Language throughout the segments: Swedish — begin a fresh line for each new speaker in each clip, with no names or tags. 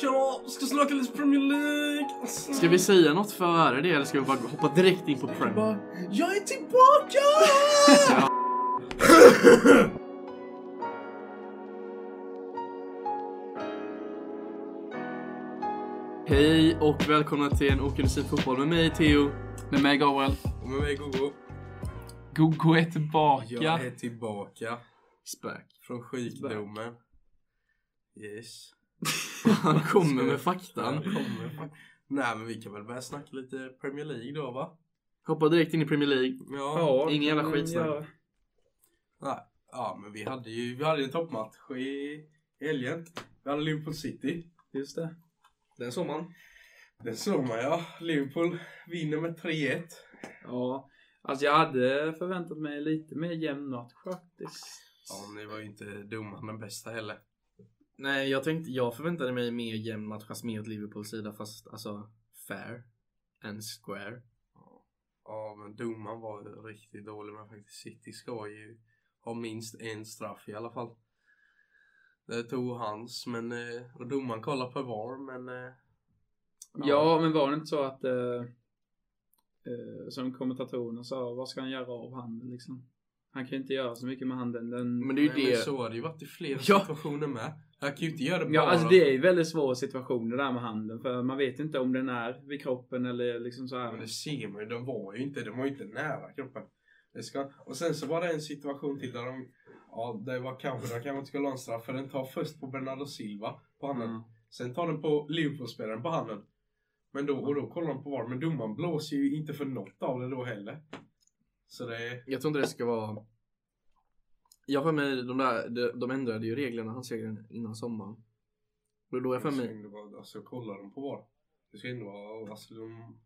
Tja, ska snacka lite Premier League.
Ska vi säga något för att ära det eller ska vi bara hoppa direkt in på Prem?
Bara, jag är tillbaka!
Hej och välkomna till en okynnesig fotboll med mig Theo.
Med mig Gabriel.
Och med mig Gogo.
Gogo är tillbaka.
Jag är tillbaka.
Spök.
Från sjukdomen. Yes.
Han kommer med faktan.
Han kommer. Nej men vi kan väl börja snacka lite Premier League då va?
Hoppa direkt in i Premier League.
Ja.
Ingen jävla skitsnack.
Nej. Ja men vi hade ju vi hade ju en toppmatch i helgen. Vi hade Liverpool City.
Just det. Den såg man.
Den såg man ja. Liverpool vinner med 3-1.
Ja. Alltså jag hade förväntat mig lite mer jämn match faktiskt.
Ja men det var ju inte domaren den bästa heller.
Nej, jag tänkte, jag förväntade mig mer jämn match, fast mer åt Liverpools sida, fast alltså fair and square.
Ja, men domaren var ju riktigt dålig men faktiskt City ska ju ha minst en straff i alla fall. Det tog hans, men eh, och domaren kollade på VAR, men eh,
Ja, men var det inte så att eh, eh, som kommentatorerna sa, vad ska han göra av handen liksom? Han kan ju inte göra så mycket med handen. Den,
Men det är ju
nej, men
det.
så har det ju varit i flera
Ja.
situationer med. Han kan ju inte göra det
Ja,
bara.
alltså det är ju väldigt svåra situationer där med handen för man vet ju inte om den är vid kroppen eller liksom så här.
Men det ser man ju, den var ju inte, den var ju inte nära kroppen. Det ska, och sen så var det en situation till där de, ja det var kanske, de kanske inte skulle ha en straff för den tar först på Bernardo Silva på handen.
Mm.
Sen tar den på Liverpool-spelaren på handen. Men då, och då kollar de på VAR. Men domaren blåser ju inte för något av det då heller. Så det är...
Jag tror inte det ska vara... Jag har för mig, de, där, de, de ändrade ju reglerna han segern innan sommaren. Och då har jag för mig...
Det var, alltså kollar de på VAR. Det ska ändå vara... Alltså de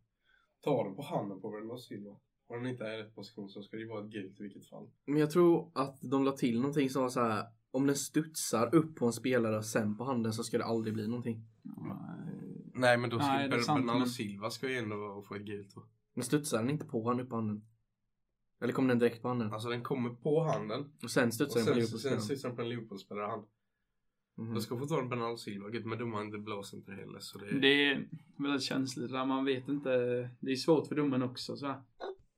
tar den på handen på Bernardo Silva. Om den inte är i rätt position så ska det ju vara ett gult i vilket fall.
Men jag tror att de la till någonting som var så här. Om den studsar upp på en spelare och sen på handen så ska det aldrig bli någonting.
Nej men då
ska- Nej, det är Ber- sant, Bernardo men-
Silva ska ju ändå få ett gult då.
Men studsar den inte på han upp på handen? Eller kommer den direkt på handen?
Alltså den kommer på handen.
Och sen
Och
studsar den på
sen, sen
Liverpoolspelaren?
sitter den på en Liverpool-spelare hand.
Mhm.
Då ska fortfarande Bernardo Silva gult men domaren inte blåser inte heller så det...
Det är väldigt känsligt där man vet inte. Det är svårt för domaren också så här.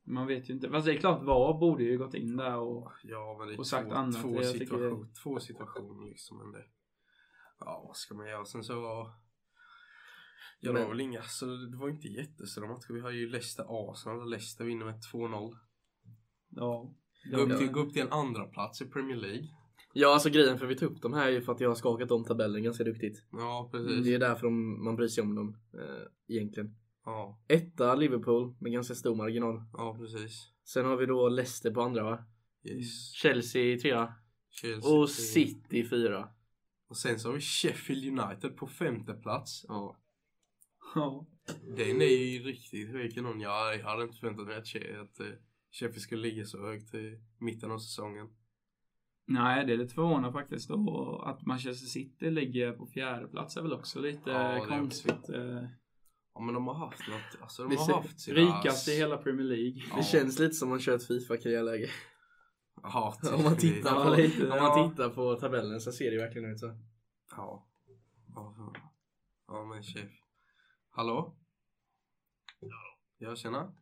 Man vet ju inte. Fast det är klart VAR borde ju gått in där och
Ja, men det är
och sagt
två,
annat.
två,
Jag tycker-
situation, två situationer liksom. Men det, ja, vad ska man göra? Sen så... Ja, det var
Men-
väl inga, så det var inte jättestora matcher. Vi har ju Leicester-Arsenal och Leicester vinner med 2-0.
ja.
Gå upp, till, gå upp till en andra plats i Premier League.
Ja, alltså grejen för vi tog upp de här är ju för att jag har skakat om tabellen ganska duktigt.
Ja, precis.
Mm, Det är därför de, man bryr sig om dem eh, egentligen.
Ja,
Etta Liverpool med ganska stor marginal.
ja, precis.
Sen har vi då Leicester på andra va? Mm.
Yes.
Chelsea trea.
Chelsea
Och
till-
City fyra.
Och sen så har vi Sheffield United på femte plats.
Ja.
Ja.
Den är ju riktigt hög kanon. Jag, jag hade inte förväntat mig att, Che- att eh, Sheffield skulle ligga så högt i mitten av säsongen.
Nej, det är lite förvånande faktiskt då att Manchester City ligger på fjärde plats är väl också lite
Ja, det är
konstigt. eh,
Ja men de har haft något, alltså de
Det
har
ser-
haft sina...
Rikast i hela Premier League.
Ja.
Det känns lite som man kör ett Fifa-karriärläge.
Ja, typ.
Om man tittar
Ja.
Ja,
på,
lite,
om
ja.
man tittar på tabellen så ser det ju verkligen ut så.
Ja. Ja, fan. ja men chef. Hallå? Ja tjena.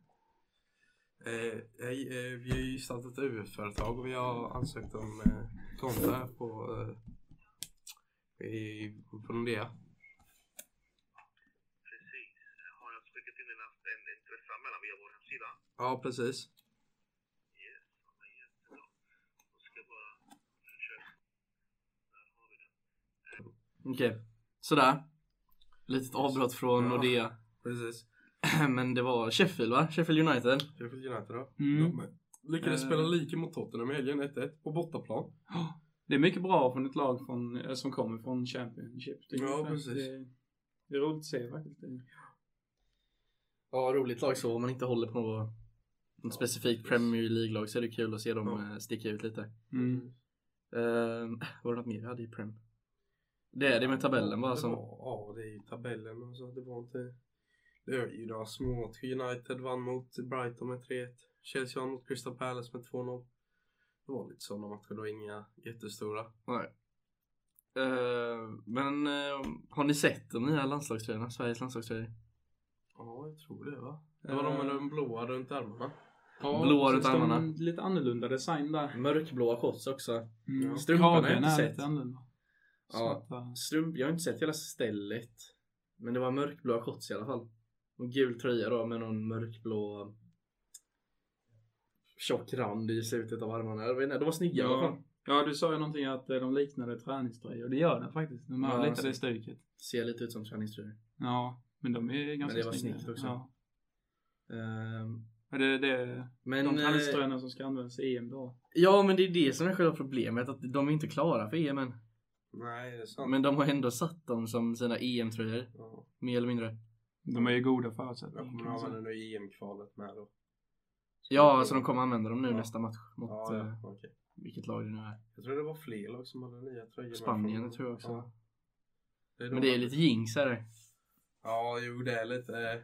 Eh, hej, eh, vi har ju startat ett UF-företag och vi har ansökt om eh, konto här på, eh, i, på Nordea.
Precis. Har jag skickat in en, en intresseanmälan via vår hemsida?
Ja precis.
Yes, ja, men jättebra. Då ska jag bara försöka. Där har vi den.
Okej, sådär. Litet avbrott från
Ja.
Nordea.
Precis.
Men det var Sheffield va? Sheffield United.
Sheffield United då.
Mm.
De lyckades
Eh.
spela lika mot Tottenham i helgen 1-1 på bortaplan.
Det är mycket bra från ett lag från, eh, som kommer från Championship. tycker
Ja,
jag.
precis.
Det, det är roligt att se faktiskt.
Ja, roligt lag så. Om man inte håller på något något specifikt Premier League-lag så är det kul att se dem
Ja.
eh, sticka ut lite.
Mm.
Ehm, var det något mer vi hade i Prem? Det är det med tabellen bara
det
som...
var- Ja, det är ju tabellen. Alltså, det var inte... Det är ju några små. United vann mot Brighton med 3-1. Chelsea vann mot Crystal Palace med 2-0. Det var lite sådana matcher. Det var inga jättestora.
Nej. Eh, men eh, har ni sett de nya landslagströjorna? Sveriges landslagströjor?
Ja, jag tror det va? Det var de med de blåa runt armarna.
Ja,
Blåa
precis,
runt
de-
armarna.
Lite annorlunda design där.
Mörkblåa shorts också.
Mm.
Strumporna har jag
Kragen
inte
är
sett.
lite annorlunda.
Ja.
Svarta.
Strump, jag har inte sett hela stället. Men det var mörkblåa shorts i alla fall. Och gul tröja då med någon mörkblå tjock rand i slutet av armarna. Jag vet inte, de var snygga i alla
Ja.
fall.
ja, du sa ju någonting att eh, de liknade träningströjor. Det gör den faktiskt. De har
Ja,
lite
alltså.
det stuket.
Ser lite ut som träningströjor.
Ja, men de är ganska
det var
snygga.
snyggt också.
Ja.
Ehm,
Men Det, det,
men,
de
eh,
träningströjorna som ska användas i EM då.
ja men det är det som är själva problemet. Att de är inte klara för EM än.
Nej, det är sant.
Men de har ändå satt dem som sina EM-tröjor.
Ja.
Mer eller mindre.
De är ju goda
Jag
förutsättningar.
kommer
kan man
att
säga.
använda nu i EM-kvalet med då.
Ja, alltså de kommer använda dem nu
Ja.
nästa match mot
Ja,
eh,
ja, okej.
vilket lag det nu är.
Jag tror det var fler lag som hade nya tröjor. med
Spanien
från-
tror jag också.
Ja. är
Men
de-
det är lite jinx är det.
Ja, jo det är lite...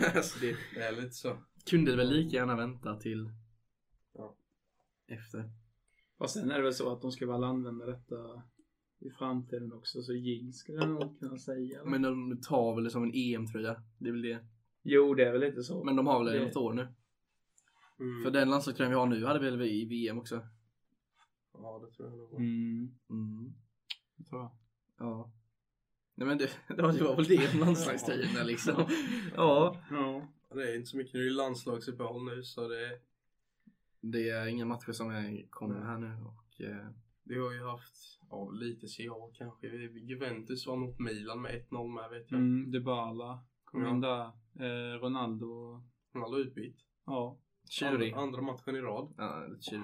eh, alltså det, det är lite så.
Kunde väl lika gärna vänta till
Ja.
efter.
Fast sen är det väl så att de ska väl använda detta i framtiden också. Så jinx skulle jag nog kunna säga.
Men de tar väl det som en EM-tröja. Det är väl det.
jo, det är väl lite så.
Men de har väl det i
Det-
något år nu.
Mm.
För den landslagströjan vi har nu hade vi väl i VM också.
Ja, det tror jag nog.
Mm,
Mm.
det tror jag.
Ja. Nej men det, det var det var väl det om landslagströjorna liksom. Ja.
Ja.
Det är inte så mycket, det är ju landslagsuppehåll nu så det...
Det är inga matcher som är, kommer här nu och eh,
Vi har ju haft, ja lite CA kanske. Juventus vann mot Milan med 1-0 med
typ.
vet jag.
Mm, Dybala kom
Ja.
in där. Eh, Ronaldo.
Ronaldo utbytt.
Ja.
Tjurig.
Andra, andra matchen i rad.
Ja, lite tjurig.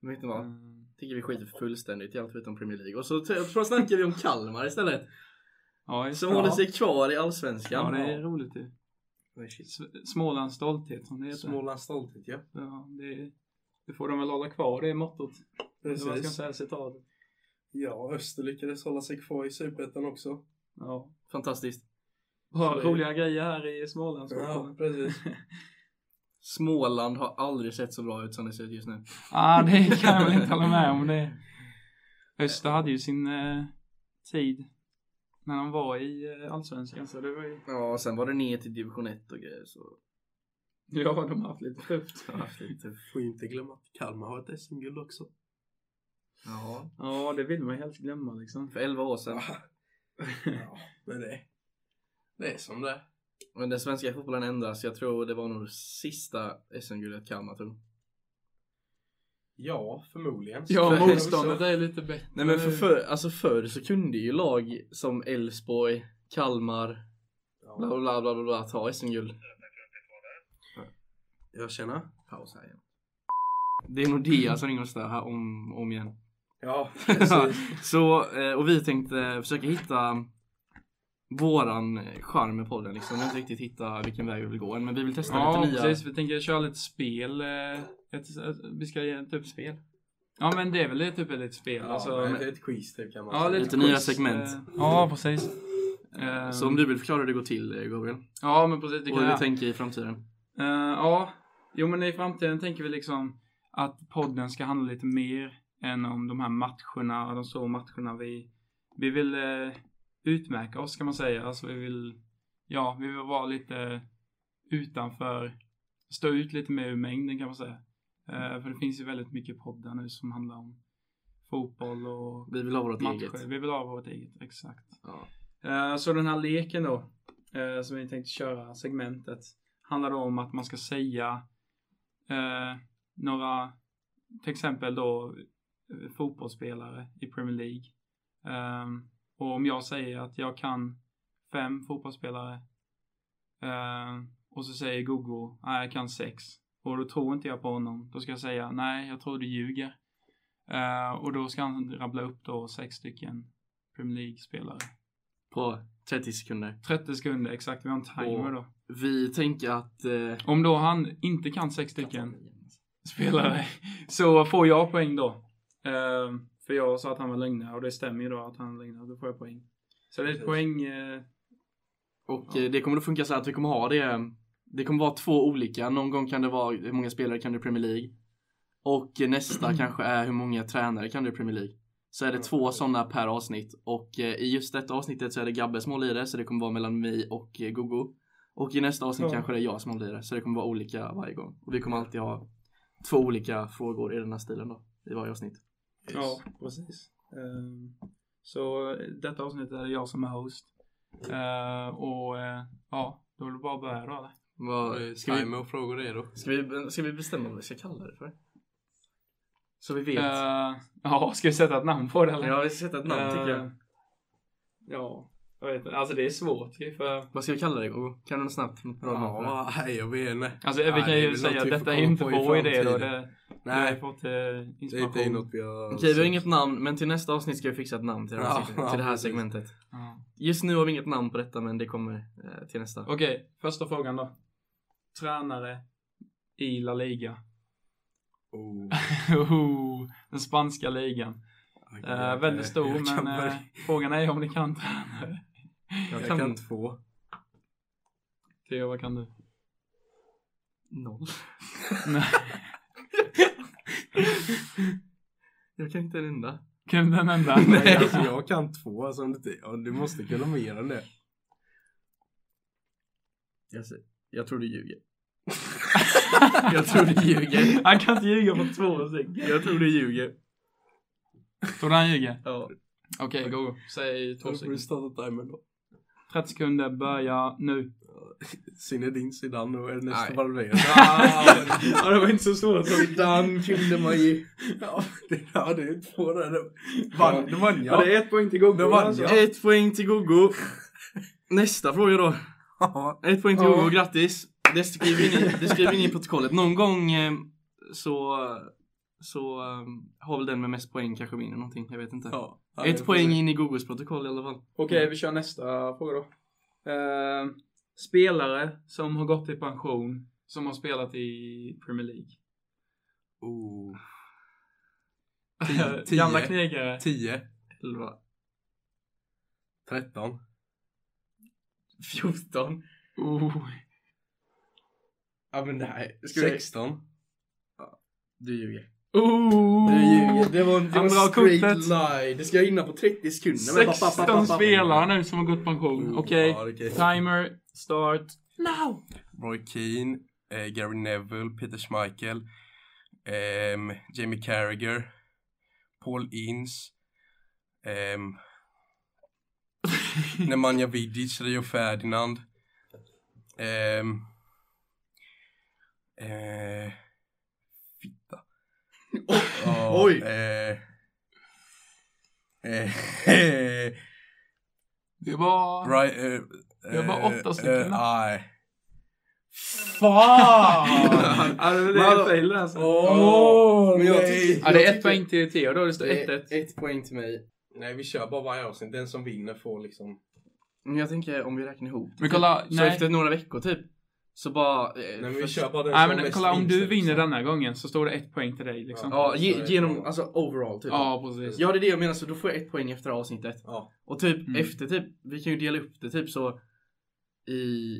Men vet ni vad?
Mm.
tycker vi skiter fullständigt i allt utom Premier League. Och så, så snackar vi om Kalmar istället.
Ja, just
Som
det.
håller
Ja.
sig kvar i
Ja,
Allsvenskan.
det är roligt ju.
Oj, shit.
S- Smålands stolthet som det heter.
Smålands stolthet ja.
Ja, det, det får de väl hålla kvar, det är mottot. Eller vad ska man
Precis.
säga, citatet.
Ja, Öster lyckades hålla sig kvar i Superettan också.
Ja.
Fantastiskt.
Bara
Så det-
roliga grejer här i Småland.
Ja,
Ja.
precis.
Småland har aldrig sett så bra ut som det ser ut just nu.
Ah, det kan jag väl inte hålla med om. Det. Öster hade ju sin eh, tid när de var i eh, Allsvenskan. Så det var ju...
Ja, sen var det ner till division 1 och grejer så
Ja, de har haft lite tufft.
jag har haft lite...
Får ju inte glömma att Kalmar har ett SM-guld också.
Ja.
Ja, det vill man ju helst glömma liksom.
För 11 år sedan.
Ja, men det, det är som det är.
Men den svenska fotbollen ändras. Jag tror det var nog sista SM-guldet Kalmar tog.
Ja, förmodligen.
Ja,
Så-
motståndet är lite bättre.
Nej men för, för, alltså förr så kunde ju lag som Elfsborg, Kalmar, bla
Ja.
bla bla bla, bla ta SM-guld.
Jag känner.
Paus här igen. Det är Nordea som ringer och stör här om, om igen.
Ja,
Så, eh, och vi tänkte försöka hitta våran charm med podden liksom. Vi har inte riktigt hitta vilken väg vi vill gå än, men vi vill testa
Ja,
lite nya.
precis. Vi tänker köra lite spel. eh, Ett, vi ska ge typ spel. Ja, men det är väl det, typ ett spel.
ja
alltså,
men det är ett quiz typ kan man
Ja,
säga.
lite nya segment.
eh, Ja, precis. Ehm,
Så om du vill förklara hur det går till eh, Gabriel.
Ja, men precis. Det
Och
kan
hur vi
jag.
tänker i framtiden.
Eh, ja, jo men i framtiden tänker vi liksom att podden ska handla lite mer än om de här matcherna och de stora matcherna vi, vi vill eh, utmärka oss kan man säga. Alltså vi vill, ja, vi vill vara lite utanför, stå ut lite mer ur mängden kan man säga. Eh, för det finns ju väldigt mycket poddar nu som handlar om fotboll och
Vi vill ha vårt eget.
matcher. Vi vill ha vårt eget, exakt.
Ja.
Eh, Så den här leken då, eh, som vi tänkte köra, segmentet, handlar då om att man ska säga eh, några, till exempel då eh, fotbollsspelare i Premier League. Ehm, och om jag säger att jag kan fem fotbollsspelare ehm, och så säger Gogo, nej jag kan sex. Och då tror inte jag på honom. Då ska jag säga, nej jag tror du ljuger. Eh, och då ska han rabbla upp då sex stycken Premier League-spelare.
På 30 sekunder.
30 sekunder exakt, vi har en timer
Och-
då.
Vi tänker att... Eh,
Om då han inte kan sex stycken spelare så får jag poäng då. Ehm, för jag sa att han var lögnare och det stämmer ju då att han är lögnare, då får jag poäng. Så det är ett
Precis.
poäng, eh,
Och eh, det kommer att funka så här att vi kommer ha det. Det kommer vara två olika. Någon gång kan det vara hur många spelare kan du i Premier League. Och eh, nästa kanske är hur många tränare kan du i Premier League. så är det två sådana per avsnitt och eh, i just detta avsnittet så är det Gabbe som håller i det så det kommer vara mellan mig och eh, Gogo. Och i nästa avsnitt
Ja.
kanske det är jag som håller i det så det kommer vara olika varje gång. Och vi kommer alltid ha två olika frågor i den här stilen då i varje avsnitt.
Ja, precis. Ehm, så detta avsnitt är det jag som är host. Ehm, och eh, ja, då vill du bara att börja då eller?
Vad, ska, vi,
Timer och frågor är då.
ska, vi, ska vi bestämma vad vi ska kalla det för? Så vi vet.
Ehm, ja, ska vi sätta ett namn på det eller?
ja, vi ska sätta ett namn tycker jag.
Ehm, Ja, jag vet inte. Alltså det är svårt ju, för
Vad ska vi kalla det Gogo? Kan du något snabbt? Något bra namn för det?
Ja, nej, jag vet inte.
Alltså vi
Nej,
kan
det är
ju
väl något
säga att
vi får
detta är
komma
inte
på i
vår idé då.
framtiden.
Det, vi har ju
Nej,
fått eh,
det är
inspiration.
inte något vi har...
Okej, vi har inget namn, men till nästa avsnitt ska vi fixa ett namn till det här,
Ja,
segmentet-
ja,
till det här
precis.
segmentet.
Ja.
Just nu har vi inget namn på detta, men det kommer eh, till nästa.
Okej, första frågan då. Tränare i La Liga.
Oh,
Oh, den spanska ligan.
jag-
Eh, väldigt stor,
jag kan
men eh,
verkligen-
frågan är om ni kan tränare.
Jag
kan-
kan två.
Theo, vad kan du?
Noll.
Nej.
Jag kan inte en enda.
Kan du den enda?
Nej, alltså jag kan två. Alltså, om du, ja, du måste kunna mer än det.
Jag, ser- jag tror du ljuger. jag tror du ljuger.
Han kan inte ljuga på två stycken.
Jag tror du ljuger.
Tror du han ljuger?
Ja.
Okej, go, go. Säg två
Då får du
stycken.
starta timern då.
30 sekunder, börja nu.
Zinedine Zidane och Ernesto
Nej.
Valverde.
ja, det var inte så svårt. Dan kunde man ju.
Ja, det, ja, det är två där. Det vann, det vann jag.
är ett poäng till alltså. Gogo.
Det vann jag.
Ett poäng till Gogo. Nästa fråga då.
Ja,
Ett poäng till
Ja.
Gogo, grattis! Det skriver vi in, i- det skriver vi in i protokollet. Någon gång eh, så, så eh, har väl den med mest poäng kanske vinner någonting, jag vet inte.
ja, ja, det
Ett
får
poäng
se.
in i Gogos protokoll i alla fall. Mm.
Okej, vi kör nästa fråga då. Eh, spelare som har gått i pension, som har spelat i Premier League.
Oh,
Eh,
tio.
Gamla knegare.
10,
Elva,
13,
fjorton.
Oh.
Ja men nej, ska vi...
16.
Du ljuger.
Oh.
Du ljuger. Det var en det var
Han drar
straight
kortet.
lie. Det ska jag hinna på 30 sekunder. men bara- bara- bara- bara-
16
bara-
spelare nu som har gått i pension.
Oh,
Okej,
ja, okej.
timer, start.
Now!
Roy Keane, eh, Gary Neville, Peter Schmeichel, ehm, Jamie Carragher, Paul Ince, ehm, Nemanja Vidic, Rio Ferdinand. ehm, eh, fitta. Ja,
Oj.
Eh, eh,
Det var...
Right, eh,
Det var bara
eh,
åtta stycken,
eh,
va?
Nej.
Fan! det är
Men-
fel det alltså.
Åh,
Men jag
nej.
tycker-
Ja, det är
jag
ett poäng till Theo då. Det står 1-1.
Ett poäng till mig.
Nej, vi kör bara varje avsnitt. Den som vinner får liksom...
Men jag tänker om vi räknar ihop.
Men kolla,
så
nej.
efter några veckor typ. Så bara... eh,
Nej, men vi
för-
kör bara den
Nej
som
men
mest
kolla om du
vinster,
vinner
liksom.
denna gången så står det ett poäng till dig liksom.
Ja, ge, genom, alltså overall typ.
Ja, precis.
Ja det är det jag menar, så då får jag ett poäng efter det här avsnittet.
Ja.
Och typ
Mm.
efter typ, vi kan ju dela upp det typ så i...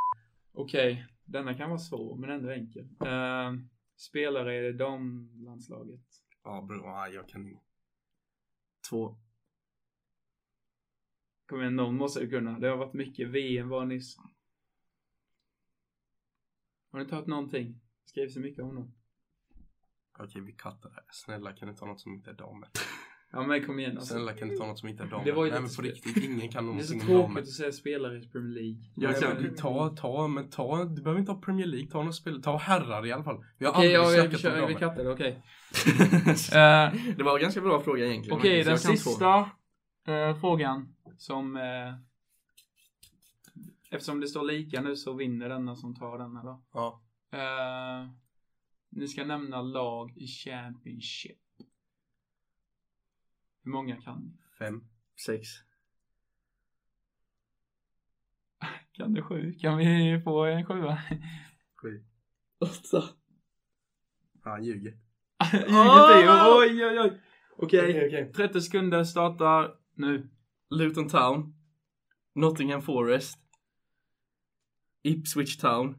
Okej, denna kan vara svår men ändå enkel. Eh, spelare i damlandslaget.
Ja, bro, nej, jag kan inte.
Två.
Kom igen, någon måste du kunna. Det har varit mycket VM var nyss. Har du inte hört någonting? Skrivs så mycket om någon.
Okej, vi kattar det här. Snälla kan du ta något som inte är damer?
Ja men kom igen alltså.
Snälla kan du ta något som inte är damer?
Det var ju
Nej men
lite
på
spe-
riktigt, ingen kan
Det är så
någonting om
tråkigt
damer.
att säga spelare i Premier League.
Jag
Nej,
kan-
men ta, ta, men ta, du behöver inte ha Premier League, ta något spel, ta herrar i alla fall. Vi har
Okej, ja,
aldrig
vi
snackat om
kör, vi
damer.
kattar det, okej. Eh,
det var en ganska bra fråga egentligen.
Okej,
Marcus.
den
Jag kan två.
sista eh, frågan som... Eh, eftersom det står lika nu så vinner denna som tar denna då.
Ja.
Eh, ni ska nämna lag i Championship. Hur många kan ni?
Fem.
Sex.
Kan du sju? Kan vi få en sjua?
Åtta.
Han ljuger.
Ingenting! Oj, oj, oj! Okej,
Okej, okej.
30 sekunder startar nu.
Luton Town. Nottingham Forest. Ipswich Town. Eh,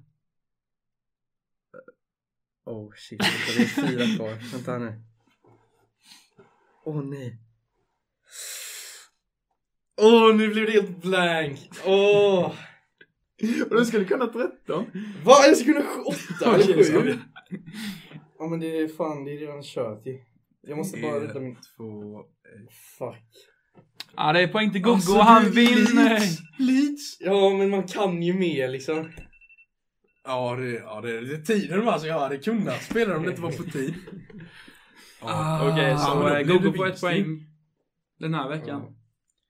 Oh shit, vänta, det är fyra kvar. Vänta här nu.
Åh nej. oh,
Åh, nu blev det helt blank! Åh!
Och du skulle kunna 13.
Vad? Jag skulle kunna åtta
Okej,
eller
så.
sju? Ja men det är fan, det är redan kört ju. Jag måste bara rädda min...
Två...
Fuck.
Ja, det är poäng till Gogo
Alltså,
och han
det är
vinner.
Leeds. Leeds!
Ja men man kan ju mer liksom.
Ja, det, ja, det, det är tiden man alltså, jag hade kunnat spela om det inte var på tid. Ja,
Okej,
Ah.
ja,
så
men då
eh,
blir det
Gogo får ett
vinst ju.
poäng den här
Ja.
veckan.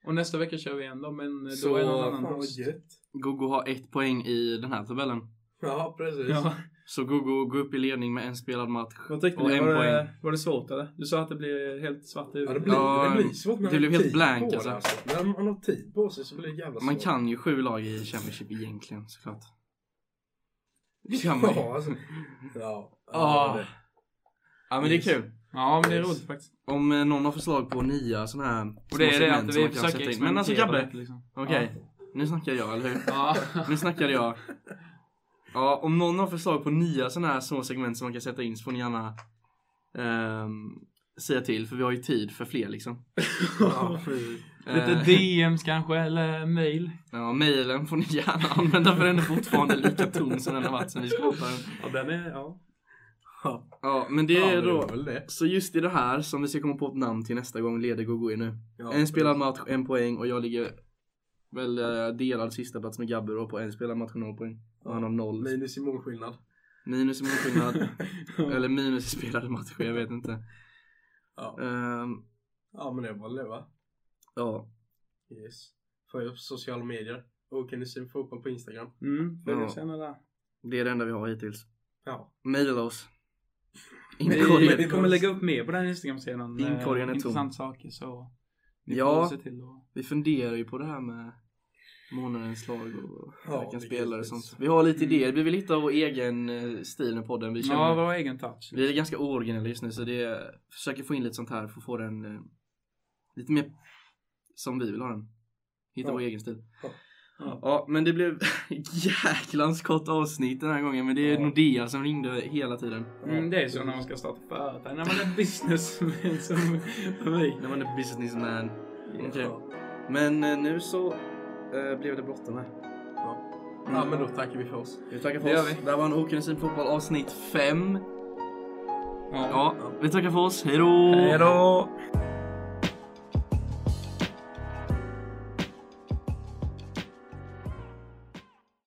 Och nästa vecka kör vi igen då, men eh, då
Så,
är någon
Ja,
annan
fan vad
host.
gött.
Gogo har ett poäng i den här tabellen.
Ja, precis.
Ja.
Så Gogo går upp i ledning med en spelad match
Vad tyckte
och
ni?
en
Var
poäng.
det, var det svårt eller? Du sa att det blir helt svart i
Ja, det
huvudet.
blir,
Ja,
det blir svårt. men
det blev
har
helt
tid
blank,
på det,
alltså.
När man har tid på sig så blir det jävla svårt.
Man kan ju sju lag i Championship egentligen såklart. Det kan man ju.
Ja, alltså. Ja.
Ah.
det-
Ja men det är kul.
Ja, men det är roligt faktiskt.
Om eh, någon har förslag på nya sådana här
Och det
små
är det
segment
att
som
vi
man kan
försöker
sätta in.
experimentera.
Men alltså Gabbe,
lite, liksom.
okej. Nu snackar jag, eller hur?
Ja.
Nu snackar jag. Ja, om någon har förslag på nya sådana här små segment som man kan sätta in så får ni gärna ehm, säga till för vi har ju tid för fler liksom.
Ja, precis.
Eh,
Lite DMs kanske, eller mail.
Ja, mejlen får ni gärna använda för den är fortfarande lika tom som den har varit sen vi skapade den.
Ja, den är, ja.
Ja, men det
Ja,
är
men
då...
var väl det.
Så just i det här som vi ska komma på ett namn till nästa gång leder Gogo nu.
Ja,
en spelad match, en poäng och jag ligger väl eh, delad sista plats med Gabbe då på en spelad match och noll poäng. Och han har noll.
Minus i målskillnad.
Minus i målskillnad. eller minus i spelade matcher, jag vet inte.
Ja.
Ehm,
ja, men det var väl det va?
ja.
Yes. Följ upp sociala medier. Och kan ni se fotboll på Instagram?
Mm, följ
Ja.
oss gärna där.
Det är det enda vi har hittills.
Ja.
Maila oss.
Vi, vi
Inkorgen.
kommer lägga upp mer på den här Instagram-sidan. eh,
Inkorgen är tom.
Intressant saker så ni
Ja.
får se till att...
Vi funderar ju på det här med månadens lag och
Ja,
vilka
det
spelare och
finns.
sånt. Vi har lite
Mm.
idéer. Vi vill hitta vår egen eh, stil med podden. Vi, känner,
Ja, vår egen touch.
vi är ganska ooriginella just nu så det är, försöker få in lite sånt här för att få den eh, lite mer som vi vill ha den. Hitta
Ja.
vår egen stil.
Ja.
Ja. men det blev jäklans kort avsnitt den här gången. Men det är
Ja.
Nordea som ringde hela tiden.
Mm, det är så när man ska starta företag. När man är businessman som som vi.
När man är businessman. Okej.
Ja.
Men eh, nu så eh, blev det Mm. blottorna.
ja, men då tackar vi för oss.
Vi tackar
Det
för
gör
oss.
vi.
Det här var en Okunnesyn Fotboll avsnitt 5.
Ja.
Ja, vi tackar för oss. Hej då!
Hej då!